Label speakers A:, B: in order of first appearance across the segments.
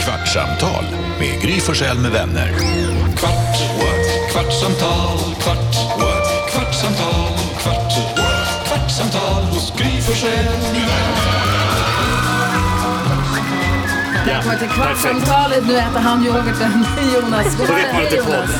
A: Kvartsamtal med Gry Forssell med vänner.
B: Kvart, what? kvartsamtal, kvart, what? kvartsamtal, kvart, what? kvartsamtal hos Gry Forssell med vänner.
C: Välkommen till Kvartsamtalet. Nu äter han yoghurten. Jonas, god
D: Då vet man att det är podd.
C: Jonas.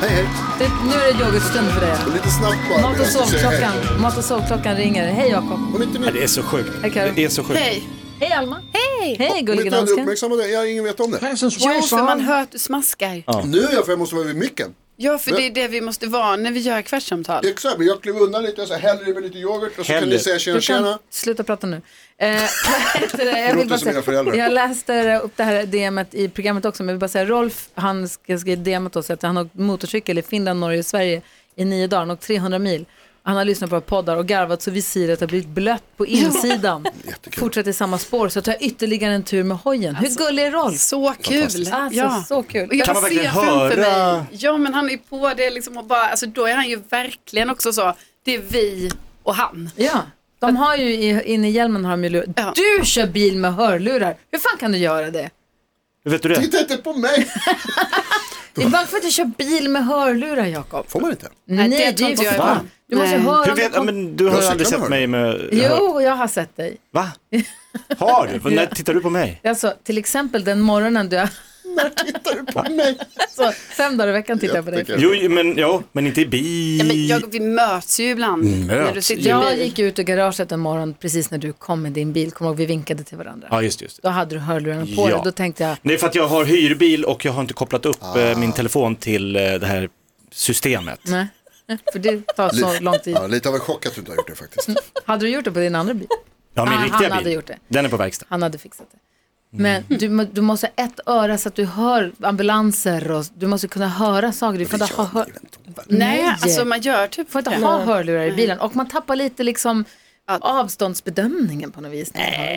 E: Hej, hej.
C: Det, nu är det yoghurtstund för dig.
E: Lite snabbt bara.
C: Mat och sovklockan, mat och sovklockan ringer. Hej Jakob.
E: Om inte ni,
D: Det är så sjukt.
C: Hej Karo.
D: Det är så sjukt.
F: Hej!
C: Hej Alma. Hej. Hej
E: om
C: gullige
E: inte ni hade
C: dansken.
E: uppmärksammat det, jag har ingen vet om det.
F: Jo, för man hör att du smaskar. Ja,
E: Nu är jag för jag måste vara vid micken.
F: för det är det vi måste vara när vi gör kvartssamtal.
E: Exakt, men jag klev undan lite, jag sa häller i mig lite yoghurt och så kan
D: Häller.
E: ni säga tjena
C: Du kan
E: tjena.
C: sluta prata nu. Eh, vad heter det? jag,
E: låter
C: vill bara
E: som mina föräldrar.
C: säga, jag läste upp det här DMet i programmet också, men jag vill bara säga Rolf, han ska- skrev DMet oss att han har åkt motorcykel i Finland, Norge och Sverige i nio dagar, han har åkt 300 mil. Han har lyssnat på våra poddar och garvat så visiret har blivit blött på insidan. Fortsätter i samma spår så tar jag ytterligare en tur med hojen. Hur gullig är Rolf?
F: Så kul!
C: Alltså,
F: Alltså, ja.
C: så kul.
F: Och jag
D: Kan man
F: ser
D: verkligen
F: framför
D: höra?
F: mig, ja men han är på det liksom och bara, alltså då är han ju verkligen också så, det är vi och han.
C: Ja, de har ju i- inne i hjälmen har de ju lurar.
F: Ja.
C: Du kör bil med hörlurar. Hur fan kan du göra det?
D: Vet du det?
E: Titta inte på mig!
C: Varför får du inte köra bil med hörlurar, Jakob?
E: Får man inte?
C: Nej,
F: det
C: det,
F: tror
C: är ju
F: inte jag
C: för
F: är
C: fan.
F: bra.
C: Du måste
F: Nej.
C: höra.
D: Du,
C: om det
D: vet, ja,
C: kom-
D: men du har
E: cyklar
D: aldrig
E: med
D: sett
E: hör.
D: mig med...
C: Jo, jag har sett dig.
D: Va? Har du? När tittar du på mig?
C: Alltså, till exempel den morgonen du...
E: När tittar du på mig?
C: Alltså, fem dagar i veckan tittar jag på dig.
E: Jättekul.
D: Jo, men, jo, men inte i
F: Ja, men
D: bil.
F: jag, vi möts ju ibland när du
D: Mm, möts.
F: sitter i
C: Jag
F: bil.
C: gick ut ur garaget en morgon precis när du kom med din bil. Kommer du ihåg, vi vinkade till varandra.
D: Ja, just det, just det.
C: Då hade du hörlurarna på
D: Ja.
C: dig. Då tänkte jag,
D: Nej, för att jag har hyrbil och jag har inte kopplat upp
C: Ah.
D: eh, min telefon till eh, det här systemet.
C: nej. För det tar så lång tid. Mm.
E: Ja, lite av en chock att du inte har gjort det faktiskt.
C: Hade du gjort det på din andra bil?
D: Ja, min
C: Ah,
D: riktiga
C: han
D: bil.
C: hade gjort det.
D: Den är på verkstad.
C: Han hade fixat det.
D: Mm.
C: Men du, må- du måste ha ett öra så att du hör ambulanser och du måste kunna höra saker. Du får inte ha, Alltså, hör,
F: Nej, alltså man gör typ
C: får inte
F: det.
C: ha hörlurar i bilen och man tappar lite liksom avståndsbedömningen på något vis.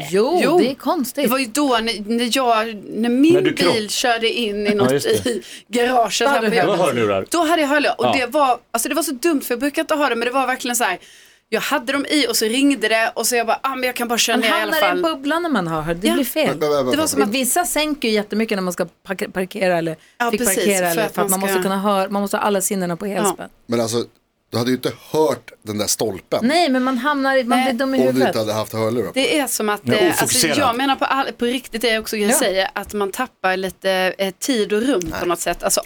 C: Jo,
F: Jo.
C: det är
F: Det
C: konstigt.
F: var ju då när, när jag, när min
D: När du krock-
F: bil körde in i något
D: just det.
F: i garaget här
C: hade
F: på
C: du
F: jobbet.
D: hörlurar.
F: Då hade jag hörlurar och
D: Ja.
F: det, var, alltså det var så dumt för jag brukar inte ha det men det var verkligen så här. Jag hade dem i och så ringde det och så jag bara, ah, men jag kan bara köra
C: Man
F: ner i alla
C: hamnar i en
F: fall.
C: bubbla när man har hör. Det
F: Ja.
C: blir fel.
E: Men, men, men,
F: Det var
E: men.
F: som att,
C: Vissa sänker ju jättemycket när man ska park- parkera eller
F: Ja,
C: fick
F: precis,
C: parkera. Eller, för att man,
F: ska-
C: måste kunna höra, man måste ha alla sinnena på helspänn.
E: Men alltså, du hade ju inte hört den där stolpen.
C: Nej, men man hamnar i, man
F: Nej.
C: blir dum i
E: Om du
C: huvudet.
E: inte hade haft hörlurar på.
F: det är som att,
D: Jag är
F: eh, alltså,
D: ofokuserad.
F: jag menar på, all, på riktigt det är också jag
C: Ja.
F: säger, att man tappar lite eh, tid och rum på något sätt, alltså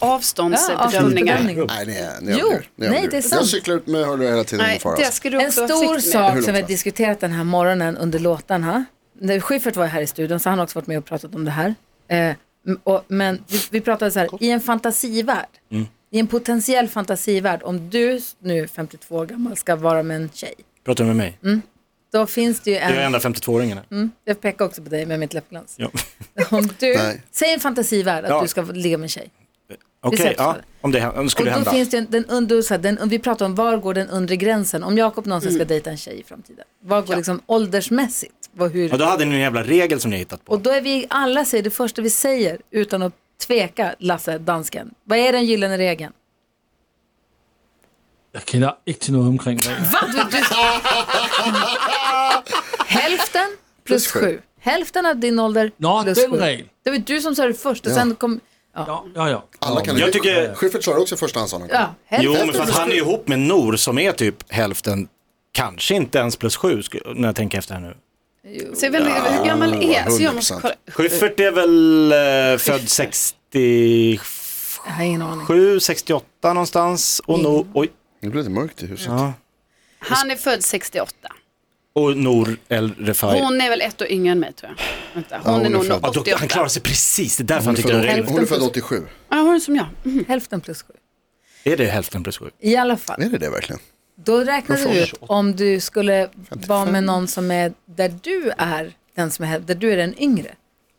F: avståndsbedömningar.
C: avståndsbedömning.
E: Nej, ni är, ni
C: Jo,
E: överdriver. Ni
C: nej,
E: överdriver.
C: det är
E: Jag
C: sant.
E: cyklar ut med hörlurar hela tiden.
F: Nej,
E: ingen fara,
F: det
E: alltså.
F: ska du
C: En
F: också vara
C: stor
F: försiktig med.
C: sak som vi har diskuterat den här morgonen under låten. Ha? När Schyffert var här i studion så han har också varit med och pratat om det här. Eh, m- och, men vi, vi pratade så här, i en fantasivärld,
D: Mm.
C: i en potentiell fantasivärld, om du nu 52 år gammal ska vara med en tjej,
D: Pratar du med mig?
C: Mm. då finns det ju
D: Jag är
C: en,
D: enda 52-åringen. här.
C: jag pekar också på dig med mitt läppglans.
D: Ja.
C: Om du,
E: Nej.
C: säg en fantasivärld att
D: Ja.
C: du ska ligga med en tjej.
D: Okej,
C: sätter
D: ja,
C: så.
D: om det, hä- om det
C: Och
D: skulle
C: då
D: hända.
C: finns det en, den under, så här, den, vi pratar om var går den undre gränsen, om Jakob någonsin
D: Mm.
C: ska dejta en tjej i framtiden, var går liksom åldersmässigt, vad, hur,
D: Ja, då hade ni en jävla regel som ni hittat på.
C: Och då är vi alla säger det första vi säger utan att tveka, Lasse, dansken. Vad är den gyllene regeln?
G: Jeg kender ikke til noget omkring regler.
C: Hälften plus
E: Plus sju.
C: sju. Hälften av din ålder
G: Nå,
C: plus
G: den
C: sju.
G: regel.
C: Det var du som sa det först och sen kom... Ja,
G: Jo, jo, jo.
E: Alla kan
D: Jag tycker-
E: Schyffert sa det också första han sa någon gång.
C: ja
D: Jo,
C: hälften
D: men för att han är ju ihop med Nor som är typ hälften, kanske inte ens plus sju, sku- när jag tänker efter här nu.
F: Så jag vet inte, hur gammal är, så jag måste
E: 100%.
F: kolla.
D: Schyffert är väl eh, född 67,
C: Jag har ingen aning.
D: 68 någonstans. Och, no, oj,
E: Nu blir det mörkt i huset.
F: Han är född 68.
D: och Nor El Refai.
F: Hon är väl ett år yngre än mig tror jag. Vänta, hon,
E: hon
F: är
E: är
F: nog
E: född.
D: Ja, då,
F: 88.
D: han klarar sig precis, det är därför han
E: Hon är
D: tyckte den
E: född-
D: regeln.
E: Hon är född 87.
F: Ja, hon är som jag. Mm.
C: Hälften plus sju.
D: Är det hälften plus sju?
C: I alla fall,
E: Är det det verkligen?
C: då räknar du ut om du skulle vara med någon som är där du är den som är, häl- där du är den yngre.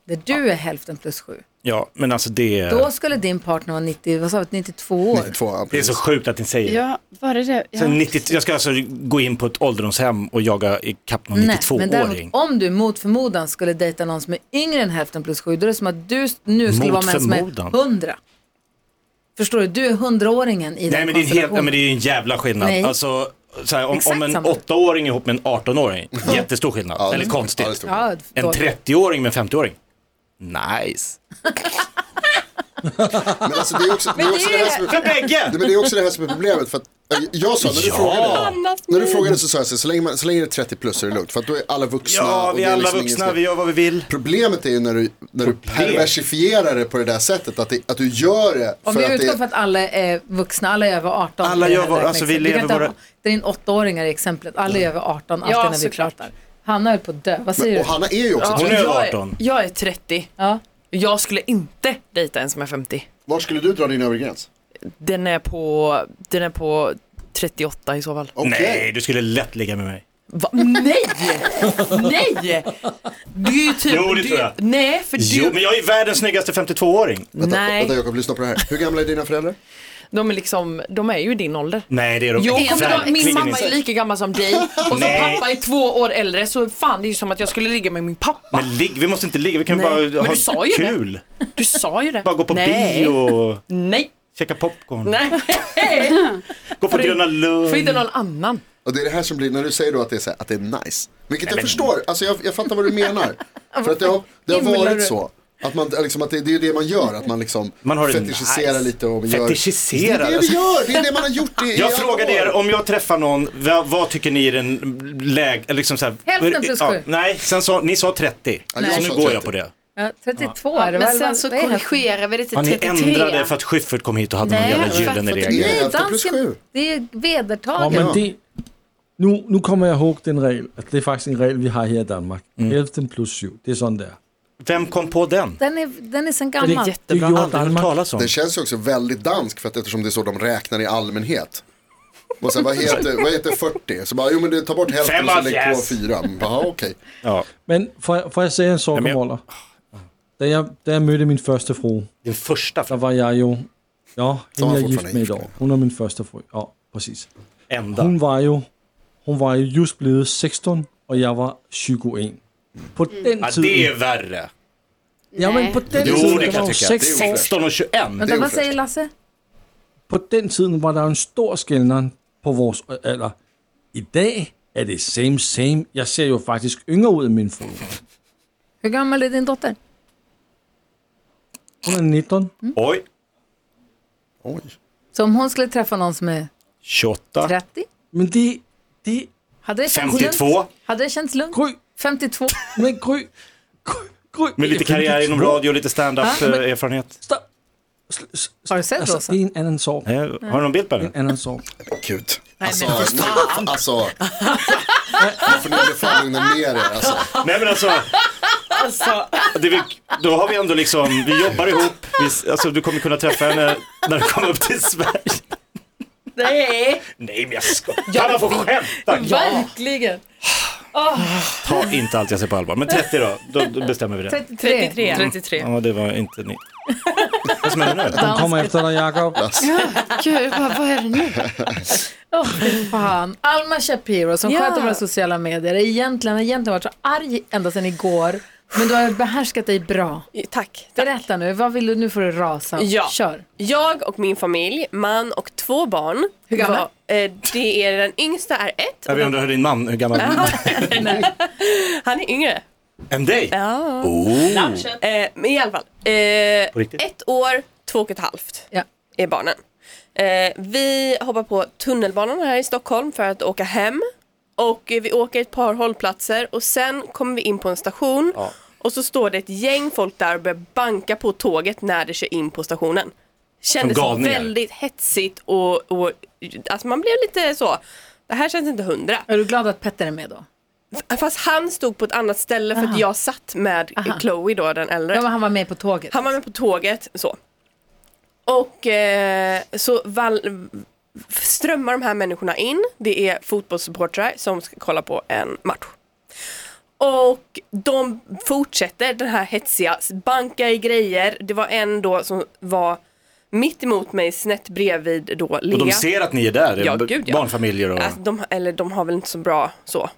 C: Där du är hälften plus sju.
D: Ja, men alltså det
C: Då
D: är,
C: skulle din partner vara 90, vad sa vi, 92 år.
E: 92, ja,
D: det är
E: precis.
D: så sjukt att ni säger det.
F: Ja, var det det? Ja.
D: Sen 90, jag ska alltså gå in på ett ålderdomshem och jaga ikapp någon
C: Nej, men
D: 92-åring.
C: däremot, om du mot förmodan skulle dejta någon som är yngre än hälften plus sju, då är det som att du nu
D: Mot
C: skulle vara med en som
D: förmodan.
C: är hundra. Förstår du? Du är hundraåringen
D: Nej
C: i den
D: men det är en, helt, ja,
C: konstellationen.
D: men det är en jävla skillnad.
C: Nej.
D: Alltså, så här, om,
C: Exakt
D: om en
C: samma.
D: 8-åring ihop med en 18-åring, jättestor skillnad. Eller
E: Ja, det är
D: konstigt.
E: stor.
C: Ja,
D: En
C: då-
D: 30-åring med en 50-åring. Nice.
E: Men alltså, det är också det, är också det här som
D: För
E: är,
D: bägge!
E: Nej, men det är också det här som är problemet. För att jag- jag sa, när du
D: Ja.
E: frågade, när du frågade så sa jag så, här, så länge, man, så länge det är 30 plus så är det lugnt. För att då är alla vuxna.
D: Ja,
E: och
D: vi
E: det
D: är alla
E: liksom ingen
D: vuxna,
E: som-
D: vi gör vad vi vill.
E: Problemet är ju när du, när du perversifierar det på det där sättet. Att, det, att du gör det
C: Om
E: för
C: vi
E: att
C: utgår
E: det
C: från att alla är vuxna, alla är över 18.
D: Alla
C: i det här
D: gör vår- alltså, vi
C: räkneexemplet. Du kan
D: lever
C: inte ha-
D: våra-
C: Det är en åttaåringar i exemplet, alla är över 18 alltid
H: Ja,
C: när vi
H: såklart.
C: pratar. Hanna höll på att dö, vad säger
E: Men, och
C: du?
E: Hanna är ju också
D: Hon är
H: Jag
D: över 18.
H: Jag är 30.
C: Ja.
H: Jag skulle inte dejta en som är 50.
E: Var skulle du dra din övre gräns?
H: Den är på, den är på 38 i så fall.
E: Okej.
D: Nej, du skulle lätt ligga med mig.
H: Va? Nej! Nej! Du är ju typ...
D: Jo, det
H: du,
D: tror jag.
H: Nej, för du...
D: Jo, men jag är världens snyggaste 52-åring.
E: Vänta,
H: Nej,
E: vänta Jakob, lyssna på det här. Hur gamla är dina föräldrar?
H: de är liksom, de är ju i din ålder.
D: Nej, det är de
H: Jo, kommer de,
D: verkligen
H: min mamma
D: inte.
H: är lika gammal som dig och så
D: Nej.
H: pappa är två år äldre så fan det är ju som att jag skulle ligga med min pappa.
D: Men ligg, vi måste inte ligga, vi kan
H: Nej, men
D: bara
H: du
D: ha
H: sa ju det.
D: kul.
H: Du sa ju det.
D: Bara gå på
H: Nej.
D: bio och
H: Nej.
D: käka popcorn.
H: Nej.
D: Gå på Gröna Lund.
H: Får inte någon annan.
E: Och det är det här som blir när du säger då att det är, så här, att det är nice. Vilket jag förstår, alltså jag, jag fattar vad du menar. För att det har, det har
C: Himlar du?
E: varit så. Att, man, liksom, att det, det är ju det man gör, att man liksom
D: Man har det
E: fetischiserar
D: nice.
E: lite och gör...
D: Fetischiserar,
E: Det är det vi
D: alltså.
E: gör, det är det man har gjort i, i
D: Jag
E: alla
D: frågade
E: år.
D: er om jag träffar någon, vad, vad tycker ni är den läg... Liksom så här,
C: Hälften plus sju.
D: nej, sen sa, ni sa 30.
E: Ja, jag
D: så nu
E: sa
D: går jag
E: 30.
D: på det.
C: Ja, 32 är det
F: Men
C: väl?
F: sen
C: Vad-
F: så
C: vad är det?
F: korrigerar vi det till
D: Ja, ni
F: 33.
D: ändrade för att Schyffert kom hit och hade
F: Nej,
D: någon jävla
F: för att-
D: gyllene
F: för att-
D: regel.
E: Nej.
C: Nej,
E: Hälften plus
C: dansken,
E: sju.
C: det är
G: Ja,
C: vedertaget.
G: men det, nu, nu kommer jag ihåg den regel, att det är faktiskt en regel vi har här i Danmark.
D: Mm.
G: Hälften plus sju, det är sån där.
D: Vem kom på den?
C: Den är, den är sen
H: Det är
C: gammal.
G: Det
H: jättebra.
G: gjorde
D: Aldrig hört
G: Danmark.
D: talas om.
E: Det känns ju också väldigt dansk för att eftersom det är så de räknar i allmänhet. Och sen, vad, heter, vad heter 40? Så bara, jo men det, ta bort hälften och så
D: Femma
E: lägg på
D: fjäs.
E: fyra. Jaha, okej.
D: Ja,
G: Men får jag, får jag säga en sak
D: Jamen,
G: om
D: jeg-
G: ålder? Da jeg, da jeg mødte min første fru,
D: din första
G: der var jeg jo... Ja, hende
E: var
G: jeg er
E: fru
G: gift
E: fra
G: med i
E: Nykøbing.
G: år. Hun er min første fru. Ja, præcis.
D: enda.
G: Hun var jo, hun var jo just blevet 16, og jeg var 21. På den
D: Ja,
G: tid...
D: det är värre.
G: Ja, men på den
D: Jo,
G: tid,
D: det kan
G: der
D: jag
G: var jo
D: tycka.
G: seks
E: Det er jo
G: år.
E: flot.
D: 16 och 21.
E: Det
C: Vänta,
E: är
C: vad säger
E: ofräscht.
C: Lasse?
G: På den tiden var der jo en stor skældner på vores alder. I dag er det same, same. Jeg ser jo faktisk yngre ud end min fru.
C: Hur gammal är din dotter?
G: Hun er 19.
D: Oj,
E: Oj.
C: Så om hon skulle träffa någon som är
D: 28,
C: 30?
G: Men det, det
C: Hade det känts lugnt?
D: 52.
C: Hade det känts lugnt?
G: Gry,
C: 52?
G: men Gry, Gry, Gry.
D: Med lite karriär inom radio och lite eh,
C: Ja, men-
D: stand-up-erfarenhet.
G: Stop. Sl- sl-
C: Har du sett
G: Altså,
C: Rosa?
G: det er en anden sorg.
D: Har du någon bild på
G: En
D: henne?
G: anden sorg.
E: Gud. Alltså, nu, alltså. Nu får ni väl fan lugna ner er. Alltså.
D: Nej men alltså,
I: Alltså.
D: det vi, då har vi ändå liksom, vi jobbar ihop, vi, alltså du kommer kunna träffa henne när du kommer upp till Sverige.
H: Nej.
D: Nej men jag skojar, kan man få skämta?
C: Verkligen!
D: Ta inte allt jag säger på allvar, men 30 då, då, då bestämmer vi det.
C: 33.
H: 33. 33.
D: Ja det var inte ni. Vad som händer nu?
G: Den kommer efter dig, Jakob.
F: Gud, vad, vad är det nu?
C: Åh, fy fan. Alma Shapiro som
H: Ja.
C: sköter våra sociala medier har egentligen, egentligen varit så arg ända sedan igår. Men du har behärskat dig bra.
I: Tack.
C: Berätta nu, vad vill du? Nu får du rasa.
I: Ja.
C: Kör.
I: Jag och min familj, man och två barn.
C: Hur gamla?
I: Var, eh, det är, den yngsta är ett.
D: Jag undrar hur din man, hur gammal han är.
I: Han är yngre.
D: Än dig?
I: Ja.
D: Oh.
I: Eh, men i alla fall. Eh,
D: På riktigt?
I: ett år, två och ett halvt
C: Ja.
I: är barnen. Eh, vi hoppar på tunnelbanan här i Stockholm för att åka hem. Och eh, vi åker ett par hållplatser och sen kommer vi in på en station. Och så står det ett gäng folk där och börjar banka på tåget när det kör in på stationen. Kändes
D: galningar.
I: väldigt hetsigt och, och alltså man blev lite så. Det här känns inte hundra.
C: Är du glad att Petter är med då?
I: Fast han stod på ett annat ställe för att jag satt med Chloe då, den äldre.
C: Ja, men han var med på tåget.
I: Han var med på tåget, så. Och eh, så val- strömmar de här människorna in. Det är fotbollssupportrar som ska kolla på en match. Och de fortsätter den här hetsiga, banka i grejer. Det var en då som var mitt emot mig, snett bredvid då Lea.
D: Och de ser att ni är där,
I: Ja, gud, ja.
D: barnfamiljer och...
I: alltså, de, eller de har väl inte så bra så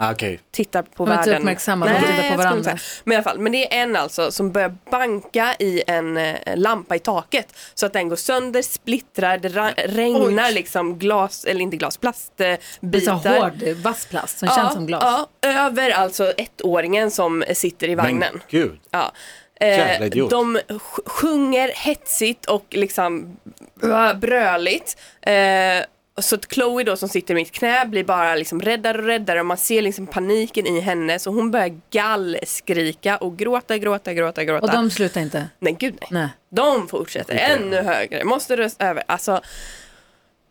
D: Ah, Okej.
I: tittar på
C: De är
I: världen.
C: inte uppmärksamma, de tittar på
I: jag skulle
C: varandra.
I: inte säga. Men i alla fall, men det är en alltså som börjar banka i en eh, lampa i taket så att den går sönder, splittrar, det ra- regnar liksom glas, eller inte glas,
C: Det är så
I: plastbitar.
C: hård, eh, vass plast som känns som glas.
I: Ja, över alltså ettåringen som sitter i vagnen.
D: Men gud.
I: Ja. Eh,
D: Jävla idiot.
I: de sj- sjunger hetsigt och liksom bra- bröligt. Eh, så att Chloe då som sitter i mitt knä blir bara liksom räddare och räddare och man ser liksom paniken i henne så hon börjar gallskrika och gråta, gråta, gråta, gråta.
C: Och de slutar inte?
I: Nej, gud nej.
C: Nej.
I: De fortsätter ännu högre, måste rösta över. Alltså,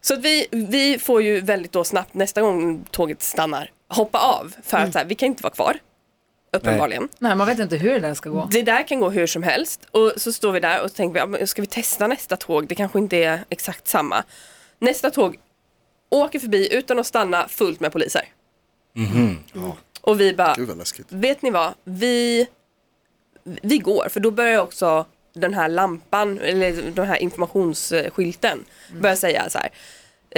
I: så att vi, vi får ju väldigt då snabbt nästa gång tåget stannar hoppa av för
C: Mm.
I: att så här, vi kan inte vara kvar. Uppenbarligen.
C: Nej, man vet inte hur det där ska gå.
I: Det där kan gå hur som helst och så står vi där och tänker vi, ja, men ska vi testa nästa tåg? Det kanske inte är exakt samma. Nästa tåg åker förbi utan att stanna fullt med poliser. Och vi bara,
E: Gud vad läskigt.
I: vet ni vad, vi, vi går för då börjar också den här lampan, eller den här informationsskylten börja säga så här.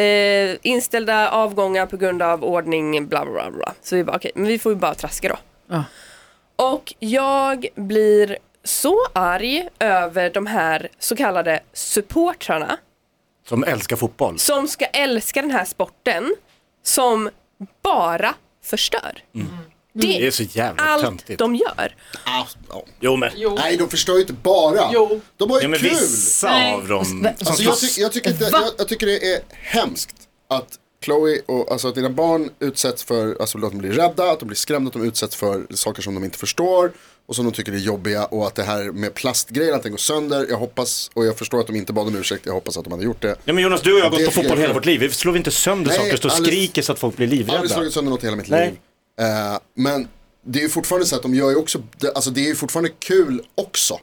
I: Eh, inställda avgångar på grund av ordning bla bla bla. bla. Så vi bara okej, men vi får ju bara traska då.
C: Ja.
I: Och jag blir så arg över de här så kallade supportrarna
J: Som älskar fotboll.
I: som ska älska den här sporten som bara förstör.
J: Det är så jävla
I: allt
J: töntigt.
I: de gör.
E: Ah, ja.
D: Jo men, jo.
E: Nej, de förstör ju inte bara.
H: Jo.
E: De har ju
D: Ja, men
E: kul.
D: vissa av dem.
E: Alltså, jag, tyck, jag, tycker inte, jag, jag tycker det är hemskt att Chloe och alltså att dina barn utsätts för, alltså att de blir rädda, att de blir skrämda, att de utsätts för saker som de inte förstår och som de tycker är jobbiga och att det här med plastgrejen, att den går sönder, jag hoppas och jag förstår att de inte bad om ursäkt, jag hoppas att de hade gjort det.
D: Nej men Jonas, du och jag har
E: Det
D: gått på
E: tycker
D: fotboll
E: jag-
D: hela vårt liv. Vi slår inte sönder
E: Nej,
D: saker, står och
E: alldeles-
D: skriker så att folk blir
E: Jag har aldrig
D: livrädda.
E: slagit sönder något i hela mitt
D: Nej.
E: liv. Eh, men det är ju fortfarande så att de gör ju också, det, alltså det är ju fortfarande kul också.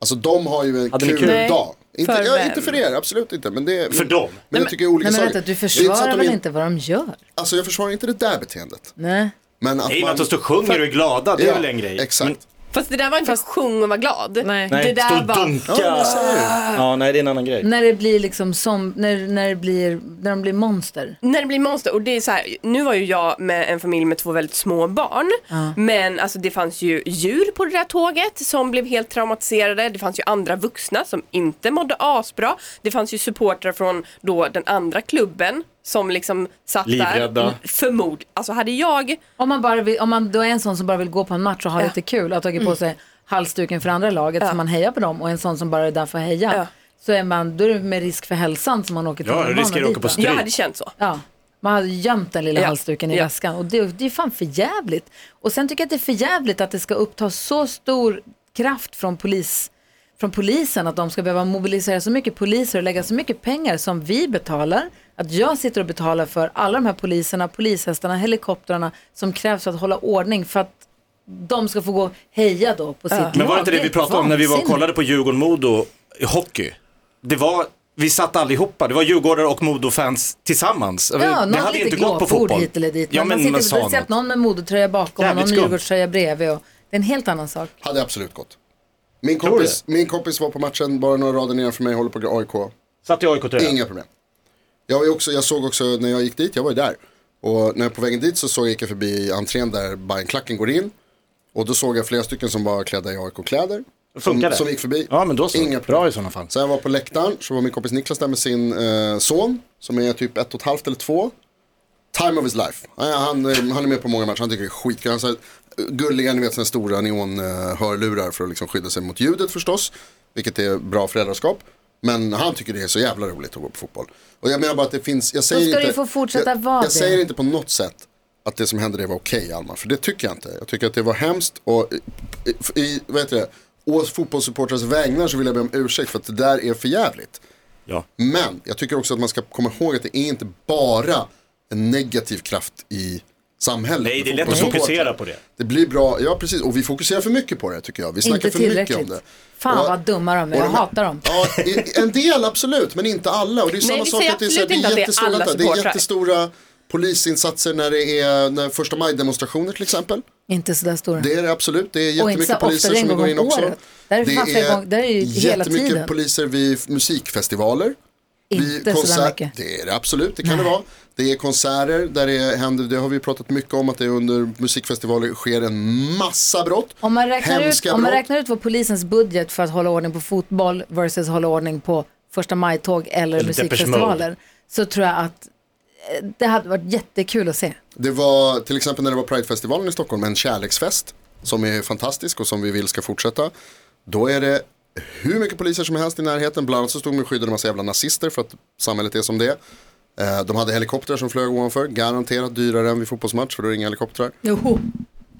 E: Alltså de har ju en
D: Hade ni
E: kul,
D: kul?
I: Nej.
E: dag. Inte
I: För
E: för, ja,
I: vem?
E: inte för er, absolut inte. Men det,
D: För dem.
E: Men, jag tycker det är olika
C: Nej, men
E: saker.
C: vänta, du
E: Det är inte så att
C: försvarar
E: de
C: väl
E: in-
C: inte vad de gör?
E: Alltså jag försvarar inte det där beteendet.
C: Nej.
E: Men att
D: Nej men
E: man...
D: att de står och sjunger och är glada, det är
E: Ja,
D: väl en grej. Mm.
E: Exakt.
D: Men,
I: Fast det där var inte att sjung och var glad.
H: Nej.
D: nej,
I: Det
D: stå
I: där
D: och
I: var...
D: dunka. Ja, nej det är en annan grej.
C: När det blir liksom som, när, när, det blir, när de blir monster.
I: När det blir monster, och det är så här, nu var ju jag med en familj med två väldigt små barn. Men alltså det fanns ju djur på det där tåget som blev helt traumatiserade. Det fanns ju andra vuxna som inte mådde asbra. Det fanns ju supportrar från då den andra klubben som liksom satt
D: Livrädda.
I: där. Förmod. Alltså hade jag,
C: Om man, bara vill, om man då är en sån som bara vill gå på en match och ha
I: Ja. Mm.
C: lite kul och har tagit på sig halsduken för andra laget så man hejar på dem och en sån som bara är där för att heja.
I: Ja.
C: Så är man, då är det med risk för hälsan som man åker
D: Ja,
C: tunnelbanan
D: riskerar att åka
C: dit,
D: på
C: va?
D: stryk.
I: jag hade känt så.
C: Ja, man hade gömt den lilla
I: Ja.
C: halsduken i
I: Ja.
C: väskan och det, det är fan för jävligt. Och sen tycker jag att det är för jävligt att det ska uppta så stor kraft från, polis, från polisen att de ska behöva mobilisera så mycket poliser och lägga så mycket pengar som vi betalar. Att jag sitter och betalar för alla de här poliserna, polishästarna, helikoptrarna som krävs för att hålla ordning för att de ska få gå och heja då på sitt lag.
D: Men var det inte det vi
C: är
D: pratade om när vi var och
C: vansinnigt.
D: kollade på Djurgården-Modo i hockey? Det var, vi satt allihopa, det var Djurgårdare och Modo-fans tillsammans.
C: Ja,
D: det
C: någon
D: hade ju inte
C: lite
D: gått på
C: glåpord
D: fotboll.
C: hit eller dit.
D: Ja,
C: men man
D: men
C: sitter
D: man
C: och
D: sa
C: speciellt
D: något.
C: någon med modetröja bakom och
D: Jävligt
C: någon
D: skumt.
C: Djurgårdströja bredvid. Och, det är en helt annan sak.
E: Hade absolut gått. Min
D: Tror
E: kompis, min kompis var på matchen bara några rader nedanför mig, håller på att AIK.
D: Satt i AIK-tröja.
E: Inga problem. Jag, var ju också, jag såg också när jag gick dit, jag var ju där. Och när jag på vägen dit så såg jag, gick jag förbi entrén där Bajenklacken går in. Och då såg jag flera stycken som var klädda i AIK-kläder.
D: Funkar
E: Som,
D: det?
E: som gick förbi.
J: Ja men då så.
E: Inga problem.
J: Bra i sådana fall.
E: Sen var jag på läktaren, så var min kompis Niklas där med sin eh, son, som är typ ett och ett halvt eller två. Time of his life. Ja, ja, Han, eh, han är med på många matcher, han tycker det är skitkul. Han har så här, eh, gulliga, ni vet sådana stora neonhörlurar för att liksom skydda sig mot ljudet förstås. Vilket är bra föräldraskap. Men han tycker det är så jävla roligt att gå på fotboll. Och jag menar bara att det finns, jag säger
C: ska
E: inte,
C: det få fortsätta
E: jag,
C: vara
E: jag
C: det.
E: säger inte på något sätt att det som hände det var okej Alma, för det tycker jag inte. Jag tycker att det var hemskt och i, i vad heter det, å fotbollssupportrars vägnar så vill jag be om ursäkt för att det där är för jävligt.
D: Ja.
E: Men jag tycker också att man ska komma ihåg att det är inte bara en negativ kraft i samhället.
D: Nej, det är
E: med
D: lätt att
E: fotbollssupportrar.
D: fokusera på det.
E: Det blir bra, ja precis, och vi fokuserar för mycket på det tycker jag. Vi snackar
C: Inte
E: för mycket om
C: tillräckligt.
E: det.
C: Fan
E: Och-
C: vad dumma de är,
E: och
C: jag
E: de här-
C: hatar dem.
E: Ja, i- en del absolut, men inte alla. Och det är ju
I: Nej,
E: samma
I: vi
E: sak
I: säger
E: att det är, så här,
I: absolut
E: det
I: inte att
E: är
I: det är
E: jättestora,
I: alla
E: det är
I: supportrar.
E: jättestora polisinsatser när det är när första maj-demonstrationer till exempel.
C: Inte sådär stora.
E: Det är det absolut, det är
C: Och inte så ofta,
E: jättemycket
C: det
E: poliser
C: är en
E: som
C: gång
E: går in
C: om
E: också.
C: året. Där är det fan flera gånger- där är det ju hela
E: jättemycket
C: tiden.
E: poliser vid f- musikfestivaler.
C: Inte
E: vid
C: sådär
E: konsert,
C: mycket.
E: det är det absolut, det kan det vara. Det är konserter där det händer, det har vi pratat mycket om att det under musikfestivaler sker en massa brott.
C: Om man, räknar ut,
E: hemska
C: om man
E: brott.
C: räknar ut vad polisens budget för att hålla ordning på fotboll versus hålla ordning på första maj-tåg eller,
D: Eller Depeche
C: musikfestivaler så tror jag att eh, det hade varit jättekul att se.
E: Det var till exempel när det var Pridefestivalen i Stockholm, en kärleksfest som är fantastisk och som vi vill ska fortsätta. Då är det hur mycket poliser som helst i närheten. Bland annat så stod de och skyddade en massa jävla nazister för att samhället är som det är. Eh, De hade helikoptrar som flög ovanför. Garanterat dyrare än vid fotbollsmatch för då är det inga helikoptrar.
C: Jo.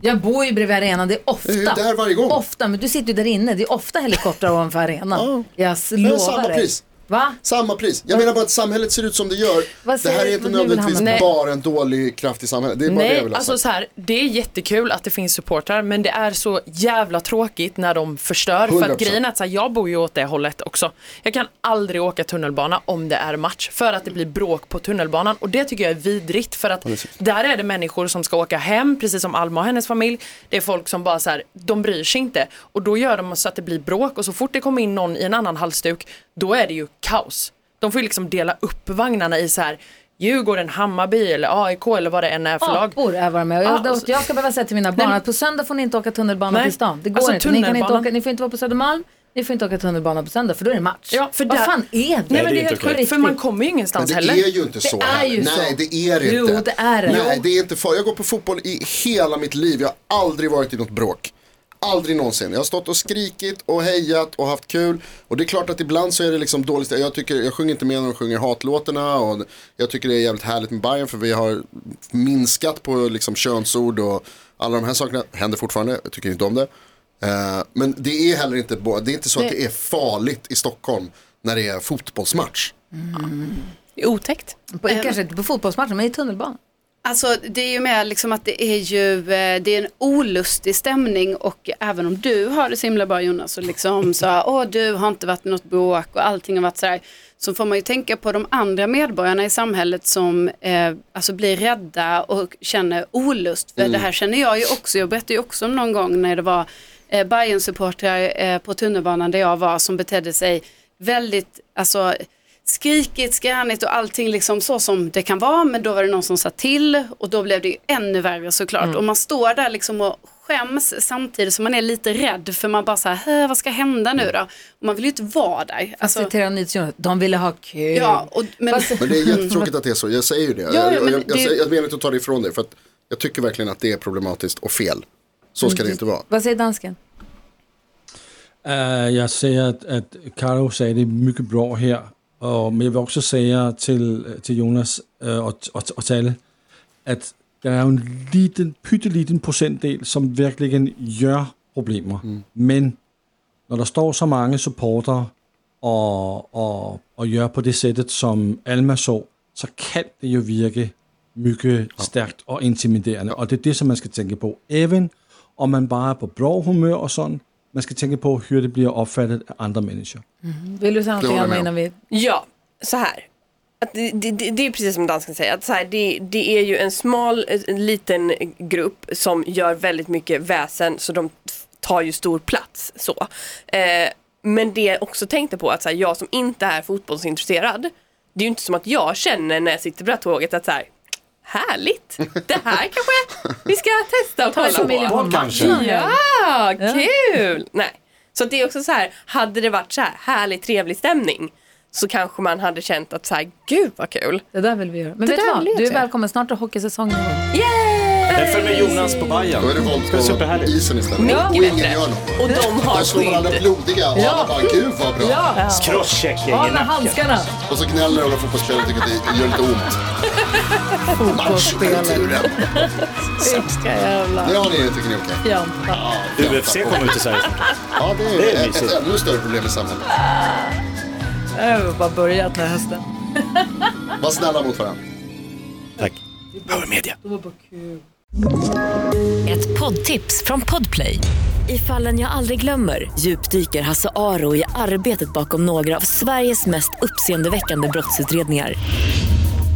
C: Jag bor ju bredvid arenan, det är ofta.
E: Jag är ju där varje gång.
C: Ofta, men du sitter ju där inne. Det är ofta helikoptrar ovanför arenan. Jag s-
E: Men
C: lovar
E: samma
C: dig.
E: pris.
C: Va?
E: Samma pris. Jag menar bara att samhället ser ut som det gör.
C: Vad
E: Det
C: säger
E: här är
C: du
E: inte
C: att du vill
E: nödvändigtvis
C: hamna? Nej.
E: bara en dålig kraft i samhället. Det är bara det jag
H: Nej,
E: vill ha
H: alltså
E: sagt.
H: så här, det är jättekul att det finns supportrar men det är så jävla tråkigt när de förstör. För att
E: 100%.
H: grejen är att så här, jag bor ju åt det hållet också. Jag kan aldrig åka tunnelbana om det är match för att det blir bråk på tunnelbanan och det tycker jag är vidrigt för att där är det människor som ska åka hem precis som Alma och hennes familj. Det är folk som bara så här, de bryr sig inte och då gör de så att det blir bråk och så fort det kommer in någon i en annan halsduk då är det ju kaos. De får ju liksom dela upp vagnarna i så här Djurgården, Hammarby eller AIK eller vad det än är för lag.
C: Apor är vad de är. Och jag,
H: Ja, Ah, och så-
C: jag ska behöva säga till mina barn
H: Nej, men-
C: att på söndag får ni inte åka tunnelbana
H: Nej.
C: till stan. Det går
H: Alltså,
C: inte. Ni, kan inte
H: tunnelbanan-
C: åka, ni får inte vara på Södermalm, ni får inte åka tunnelbana på söndag för då är det match.
H: Ja, för
C: Vad
H: där-
C: fan är det?
H: Nej, men det är helt sjukt, för man kommer ju
E: Men
H: ingenstans
E: det
H: heller.
E: är ju inte så. här. Nej, det är det
C: Jo,
E: inte.
C: det är det.
E: Nej,
C: Jo.
E: det är inte för. Jag går på fotboll i hela mitt liv. Jag har aldrig varit i något bråk. Aldrig någonsin. Jag har stått och skrikit och hejat och haft kul. Och det är klart att ibland så är det liksom dåligt. Jag, tycker, jag sjunger inte med när de sjunger hatlåtarna. Och jag tycker det är jävligt härligt med Bayern för vi har minskat på liksom könsord och alla de här sakerna. Händer fortfarande, jag tycker inte om det. Eh, Men det är heller inte, bo- det är inte så att
I: Det-
E: det är farligt i Stockholm när det är fotbollsmatch.
I: Det är otäckt.
C: På, kanske inte på fotbollsmatchen, men i tunnelbanan.
F: Alltså det är ju mer liksom att det är ju eh, det är en olustig stämning och även om du har det så himla bra Jonas och liksom så här, åh du har inte varit i något bråk och allting har varit så här. Så får man ju tänka på de andra medborgarna i samhället som eh, alltså blir rädda och känner olust. För
K: Mm.
F: det här känner jag ju också, jag berättade ju också om någon gång när det var eh, Bayern-supportrar eh, på tunnelbanan där jag var som betedde sig väldigt, alltså skrikigt, skränigt och allting liksom så som det kan vara. Men då var det någon som sa till och då blev det ju ännu värre såklart.
K: Mm.
F: Och man står där liksom och skäms samtidigt som man är lite rädd för man bara så här, "Hä, vad ska hända nu då? Och man vill ju inte vara där.
C: Alltså, citera NyhetsJonas, de ville ha kul.
F: Ja, och, men,
E: Men det är jättetråkigt att det är så, jag säger ju det.
F: ja,
E: jag, jag,
F: men
E: jag,
F: det-
E: säger- jag menar inte att ta det ifrån dig, för att jag tycker verkligen att det är problematiskt och fel. Så
C: Mm.
E: ska det inte vara.
C: Vad säger dansken?
G: Uh, jag säger att, att Carlo säger det är mycket bra här. Och, men jag vill också säga till, till Jonas eh, och, och, och Talle att det är en liten, pytteliten procentdel som verkligen gör problemer. Men när det står så många supportrar och, och, och gör på det sättet som Alma såg så kan det ju virka mycket starkt och intimiderande. Och det är det som man ska tänka på. Även om man bara är på bra humör och sånt. Man ska tänka på hur det blir uppfattat av andra människor.
C: Vill du säga
G: Det
C: någonting
G: håller
C: Anna
G: jag
C: innan vi...
I: Ja, så här. Att det, det, det, det är precis som dansken säger, att så här, det, det är ju en smal eh, liten grupp som gör väldigt mycket väsen så de tar ju stor plats. så. Eh, men det jag också tänkte på, att så här, jag som inte är fotbollsintresserad, det är ju inte som att jag känner när jag sitter på det här tåget att så här, härligt, det här kanske vi ska testa och
C: Ta
I: kolla
C: familjen
I: på.
C: på matchen.
I: Ja,
C: Ja.
I: kul! Nej. Så det är också så här, hade det varit så här härlig trevlig stämning så kanske man hade känt att så här, gud vad kul.
C: Det där vill vi göra. Men
I: Det
C: vet du
I: där
C: vad?
I: vill jag
C: Du är
I: säga.
C: välkommen snart till hockeysäsongen.
I: Yay!
D: Därför med Jonas på Bajen.
E: Då är det våld på isen istället.
D: Mycket
E: och ingen
D: bättre.
E: gör något.
I: Och de har
E: Där slår varandra
I: skydd.
E: blodiga och
I: Ja.
E: alla bara, gud vad bra.
I: Ja.
D: Crosscheck
C: Hålla handskarna.
E: Och så gnäller alla fotbollsspelare och tycker att det gör lite ont. Matchkulturen.
I: Vilka jävla...
E: Det har ni, tycker ni är okej.
C: Janta.
D: UFC kommer ut i Sverige.
E: Ja, det är,
D: Det är
E: ett,
D: mysigt.
E: ett ännu större problem i samhället.
C: Jag har bara börjat den här hösten.
E: Var snälla mot varandra.
D: Tack. Power Media.
L: Ett poddtips från Podplay. I fallen jag aldrig glömmer djupdyker Hasse Aro i arbetet bakom några av Sveriges mest uppseendeväckande brottsutredningar.